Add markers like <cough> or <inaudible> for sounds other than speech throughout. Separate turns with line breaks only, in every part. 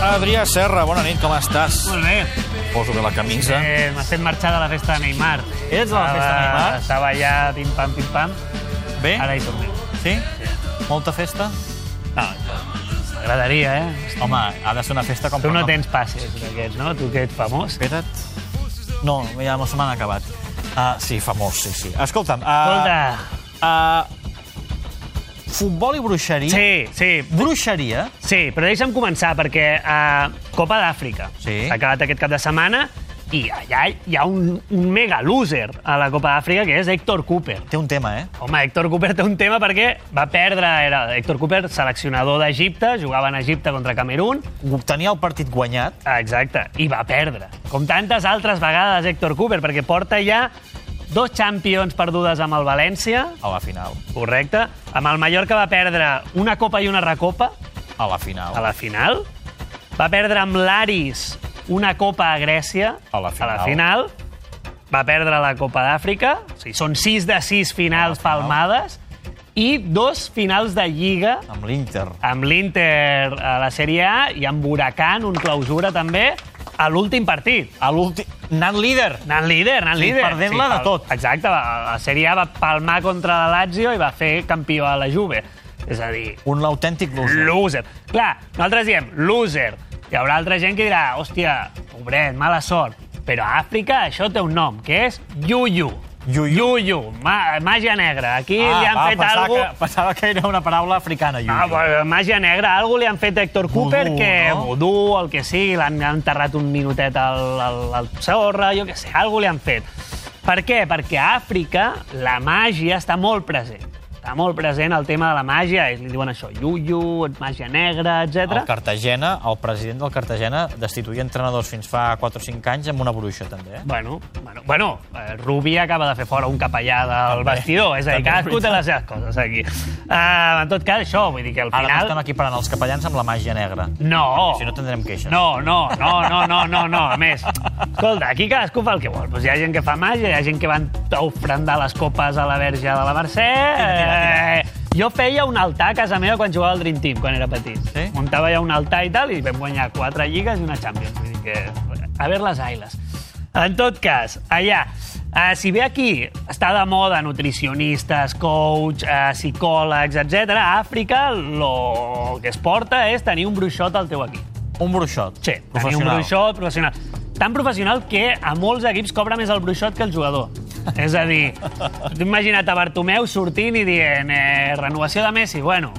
Adrià Serra, bona nit, com estàs?
Molt bé.
Poso bé la camisa.
Eh, M'has fet marxar de la festa de Neymar.
Ets a la festa de Neymar?
Estava allà pim-pam, pim-pam.
Bé?
Eh, Ara hi tornem.
Sí? Molta festa?
No, Ah, m'agradaria, eh?
Home, ha de ser una festa com...
Tu
per
no tens passes d'aquests, no? Tu que ets famós.
Espera't. No, ja se m'han acabat. Uh, sí, famós, sí, sí. Escolta'm...
Ah,
Uh,
Escolta,
Uh, futbol i bruixeria.
sí, sí,
Bruixeria.
Sí, però deixa'm començar, perquè a Copa d'Àfrica
Sí.
s'ha acabat aquest cap de setmana i allà hi ha un, un mega loser a la Copa d'Àfrica, que és Héctor Cooper.
Té un tema, eh?
Home, Héctor Cooper té un tema perquè va perdre... Era Héctor Cooper, seleccionador d'Egipte, jugava en Egipte contra Camerún.
Tenia el partit guanyat.
Ah, Exacte, i va perdre. Com tantes altres vegades Héctor Cooper, perquè porta ja dos Champions perdudes amb el València,
A la final.
correcte, amb el Mallorca va perdre una copa i una recopa,
A la final.
a la final. Va perdre amb l'Aris una copa a Grècia.
A la final.
A la final. Va perdre la Copa d'Àfrica. O sigui, són sis de sis finals
A la final.
palmades. I dos finals de Lliga
Amb l'Inter.
amb l'Inter a la Sèrie A i amb Huracan, un clausura també, a l'últim partit.
A l'últim... Anant líder.
Anant líder, anant
Sí,
líder.
perdent-la de
pal-
tot.
Exacte, la la Sèrie A va palmar contra la Lazio i va fer campió a la Juve. És a dir,
Un autèntic loser.
Loser. Clar, nosaltres diem loser. Hi haurà altra gent que dirà, hòstia, pobret, mala sort. Però a Àfrica això té un nom, que és Yuyu.
Yuyu? Ah,
Yuyu, mà, màgia negra. Aquí li han
va,
fet
pensava
algo...
Que, pensava que era una paraula africana, Lluís.
Ah, bueno, màgia negra, algo li han fet a Héctor Cooper,
Vudú,
que
no?
vudú, el que sigui, l'han enterrat un minutet al, al, al sorra, jo què sé, algo li han fet. Per què? Perquè a Àfrica la màgia està molt present. Està molt present el tema de la màgia, i li diuen això, yuyu, màgia negra,
El
etc.
Cartagena, el president del Cartagena, destituïa entrenadors fins fa 4 o 5 anys amb una bruixa, també. Eh?
Bueno, bueno, bueno eh, Rubi acaba de fer fora un capellà del vestidor, és a dir,
També és
cadascú té les seves coses aquí. Uh, en tot cas, això, vull dir que al
Ara no
final...
estem aquí parant els capellans amb la màgia negra.
No.
Si no, tindrem queixes.
No, no, no, no, no, no, no. A
<laughs>
més, escolta, aquí cadascú fa el que vol. Pues hi ha gent que fa màgia, hi ha gent que van ofrendar les copes a la verge de la Mercè...
tira.
Eh, jo feia un altar a casa meva quan jugava al Dream Team, quan era petit.
Sí?
Muntava ja un altar i tal, i vam guanyar quatre lligues i una Champions. Vull dir que... A ver les ailes. En tot cas, allà, eh, si bé aquí està de moda nutricionistes, coach, eh, psicòlegs, etc. a Àfrica lo que es porta és tenir un bruixot al teu equip.
Un bruixot.
Sí, tenir un bruixot professional. Tan professional que a molts equips cobra més el bruixot que el jugador. És a dir, tu imagina't a Bartomeu sortint i dient eh, renovació de Messi, bueno,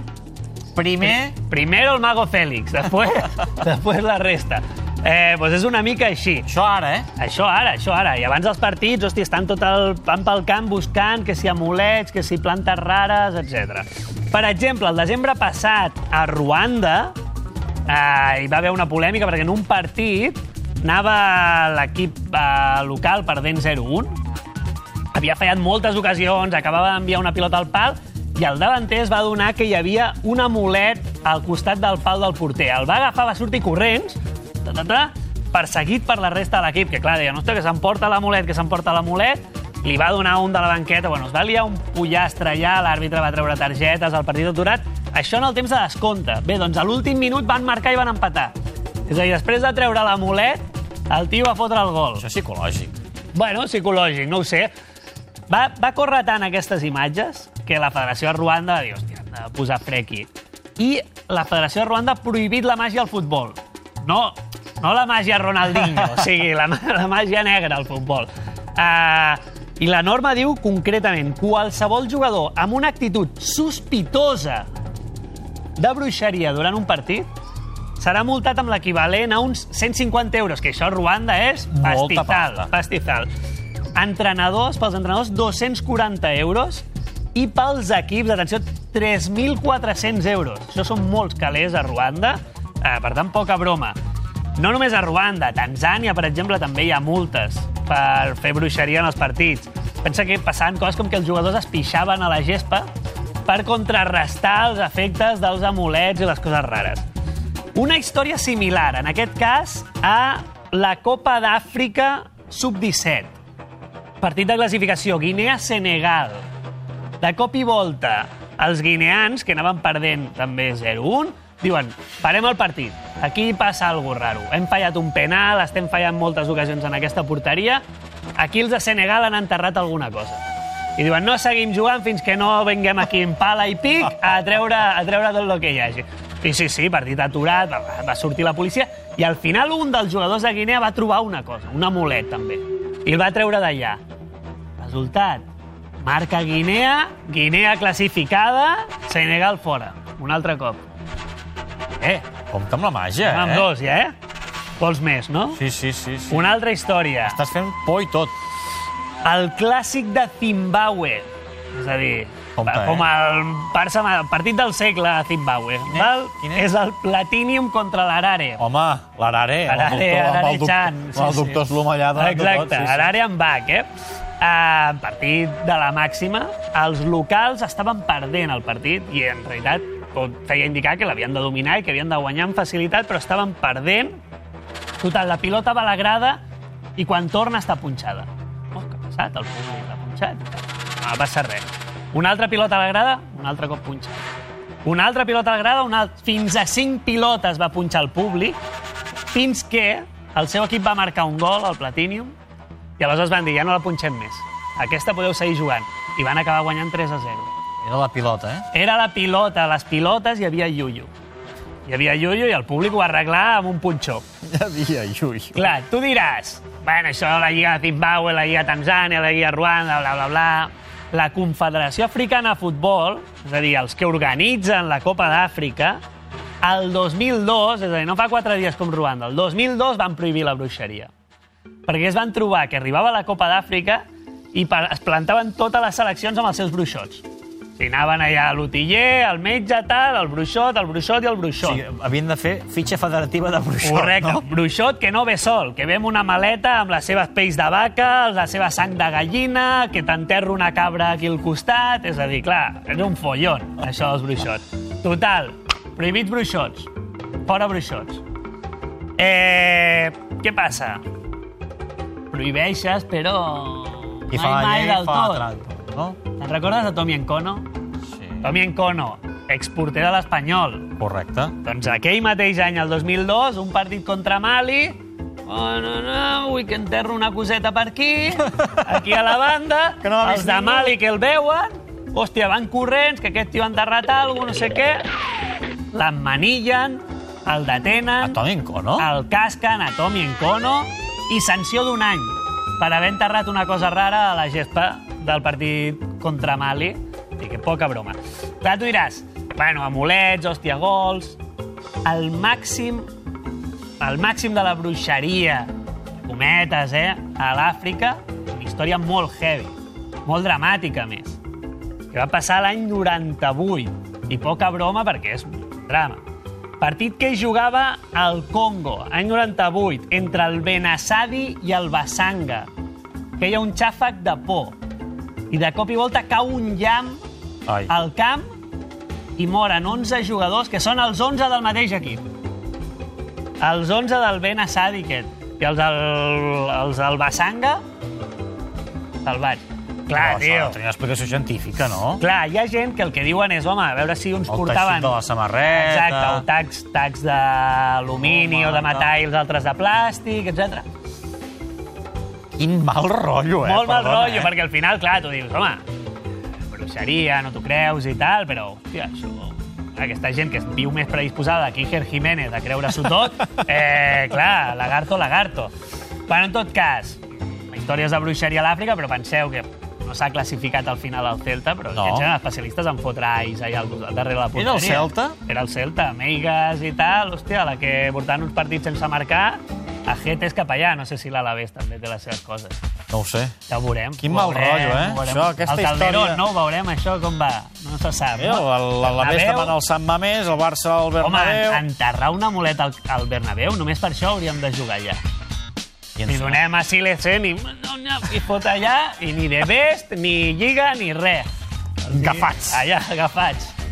Primer,
primero el mago Félix, després, <laughs> després la resta. Eh, doncs és una mica així.
això ara, eh?
Això ara, això ara. I abans dels partits, hòstia, estan tot el van pel camp buscant que si amulets, que si plantes rares, etc. Per exemple, el desembre passat a Ruanda eh, hi va haver una polèmica perquè en un partit anava l'equip eh, local perdent 0-1 havia fallat moltes ocasions, acabava d'enviar una pilota al pal, i el davanter es va adonar que hi havia un amulet al costat del pal del porter. El va agafar, va sortir corrents, ta, ta, ta, perseguit per la resta de l'equip, que clar, deia, hòstia, que s'emporta l'amulet, que s'emporta l'amulet, li va donar un de la banqueta, bueno, es va liar un pollastre allà, l'àrbitre va treure targetes, el partit aturat, això en el temps de descompte. Bé, doncs a l'últim minut van marcar i van empatar. És a dir, després de treure l'amulet, el tio va fotre el gol.
Això és psicològic.
Bueno, psicològic, no ho sé. Va, va córrer tant aquestes imatges que la Federació de Ruanda va dir, hòstia, hem de posar fre aquí. I la Federació de Ruanda ha prohibit la màgia al futbol. No, no la màgia Ronaldinho, o sigui, la, <laughs> mà- la màgia negra al futbol. Uh, I la norma diu concretament qualsevol jugador amb una actitud sospitosa de bruixeria durant un partit serà multat amb l'equivalent a uns 150 euros, que això a Ruanda és
Molta
pastizal.
pasta.
pastizal. Entrenadors, pels entrenadors, 240 euros i pels equips, atenció, 3.400 euros. Això són molts calés a Ruanda, eh, per tant, poca broma. No només a Ruanda, a Tanzània, per exemple, també hi ha multes per fer bruixeria en els partits. Pensa que passaven coses com que els jugadors es pixaven a la gespa per contrarrestar els efectes dels amulets i les coses rares. Una història similar, en aquest cas, a la Copa d'Àfrica Sub-17. Partit de classificació, Guinea-Senegal. De cop i volta, els guineans, que anaven perdent també 0-1, Diuen, parem el partit. Aquí passa alguna raro. Hem fallat un penal, estem fallant moltes ocasions en aquesta porteria. Aquí els de Senegal han enterrat alguna cosa. I diuen, no seguim jugant fins que no venguem aquí en pala i pic a treure, a treure tot el que hi hagi. I sí, sí, partit aturat, va, va sortir la policia, i al final un dels jugadors de Guinea va trobar una cosa, un amulet també, i el va treure d'allà. Resultat, marca Guinea, Guinea classificada, Senegal fora, un altre cop. Eh,
Compte amb la màgia,
amb
eh?
dos ja, eh? Vols més, no?
Sí, sí, sí. sí.
Una altra història.
Estàs fent por i tot.
El clàssic de Zimbabwe. És a dir,
Compte,
va-
eh?
com el, Barça, el partit del segle a Zimbabwe.
Quin és?
Val?
Quin és?
És el Platinium contra l'Arare.
Home, l'Arare, amb el
Arare,
doctor, amb
Arare
el, doc-
Chan, sí,
amb el
sí.
doctor Slum allà donant
Exacte,
tot.
sí, l'àrea en bac, eh? Uh, partit de la màxima. Els locals estaven perdent el partit i, en realitat, tot feia indicar que l'havien de dominar i que havien de guanyar amb facilitat, però estaven perdent. Total, la pilota va a la grada i quan torna està punxada. Oh, què ha passat? El punt està punxat. No passa res. Una altra pilota a la grada, un altre cop punxada. Una altra pilota a la grada, una... al- fins a cinc pilotes va punxar el públic fins que el seu equip va marcar un gol al Platinium i aleshores van dir, ja no la punxem més. Aquesta podeu seguir jugant. I van acabar guanyant 3 a 0.
Era la pilota, eh?
Era la pilota, les pilotes, hi havia Yuyu. Hi havia Yuyu i el públic ho va arreglar amb un punxó.
<laughs> Ja havia, Llull.
Clar, tu diràs, bueno, això la Lliga de Zimbabue, la Lliga de Tanzània, la Lliga de Ruanda, bla, bla, bla... La Confederació Africana de Futbol, és a dir, els que organitzen la Copa d'Àfrica, el 2002, és a dir, no fa quatre dies com Ruanda, el 2002 van prohibir la bruixeria. Perquè es van trobar que arribava la Copa d'Àfrica i pa- es plantaven totes les seleccions amb els seus bruixots. O sigui, anaven allà a l'utiller, al metge, tal, el bruixot, el bruixot i el
O
bruixot.
sigui, havien de fer fitxa federativa de bruixot,
Correcte,
no?
bruixot que no ve sol, que ve amb una maleta amb les seves pells de vaca, la seva sang de gallina, que t'enterra una cabra aquí al costat... És a dir, clar, és un follon, això dels bruixots. Total, prohibits bruixots. Fora bruixots. Eh, què passa? Prohibeixes, però...
I fa
mai,
la
mai
llei,
del
fa la
tot.
trampa, no?
Te'n recordes de Tommy Encono?
Sí.
Tommy Encono, exporter de l'Espanyol,
Correcte.
doncs aquell mateix any, el 2002, un partit contra Mali, Oh, no, no, vull que enterro una coseta per aquí, aquí a la banda,
<laughs> Que no l'ha
els
vist
de
ningú.
Mali que el veuen, hòstia, van corrents, que aquest tio ha enterrat alguna no sé què, l'emmanillen, el detenen,
Atòmico, no?
el casquen a Tommy Encono i sanció d'un any per haver enterrat una cosa rara a la gespa del partit contra Mali. I que poca broma. Clar, tu diràs, bueno, amulets, hòstia, gols... El màxim, el màxim de la bruixeria, cometes, eh, a l'Àfrica, una història molt heavy, molt dramàtica, a més que va passar l'any 98. I poca broma perquè és un drama. Partit que es jugava al Congo, any 98, entre el Benassadi i el Basanga. Que hi ha un xàfec de por. I de cop i volta cau un llamp
Ai.
al camp i moren 11 jugadors, que són els 11 del mateix equip. Els 11 del Benassadi, aquest. I els del, els del Basanga, salvats. Clar,
Però
tio.
Això no tenia una explicació científica, no?
Clar, hi ha gent que el que diuen és, home, a veure si uns
El
portaven...
teixit de la samarreta...
Exacte, o tacs, tacs d'alumini
Home,
o de metall,
tal.
els altres de plàstic, etc.
Quin mal rotllo, eh?
Molt mal
Perdona,
rotllo, perquè al final, clar, tu dius, home, bruixeria, no t'ho creus i tal, però, hòstia, això... Aquesta gent que es viu més predisposada que Iker Jiménez a creure-s'ho
<laughs>
tot, eh, clar, lagarto, lagarto. Bueno, en tot cas, històries de bruixeria a l'Àfrica, però penseu que no s'ha classificat al final el Celta, però
No.
no. eren especialistes en fotre ais allà al costat, darrere la porteria.
Era el Celta?
Era el Celta, Meigas i tal, hòstia, la que portant uns partits sense marcar, a Getes cap allà, no sé si l'Alavés també té les seves coses.
No ho sé.
Ja ho veurem.
Quin
ho
mal
veurem,
rotllo, eh?
ho veurem.
Això, aquesta
el Calderón,
història-
no ho veurem, això, com va? No se sap.
Eh, el- La, la
Bernabéu-
Besta demana el Sant Mamés, el Barça al
Home,
Bernabéu...
enterrar una muleta al, al Bernabéu, només per això hauríem de jugar allà.
I ens-
Li donem a Silecen i, i fot allà, i ni de best, ni lliga, ni res.
Agafats.
Allà, agafats.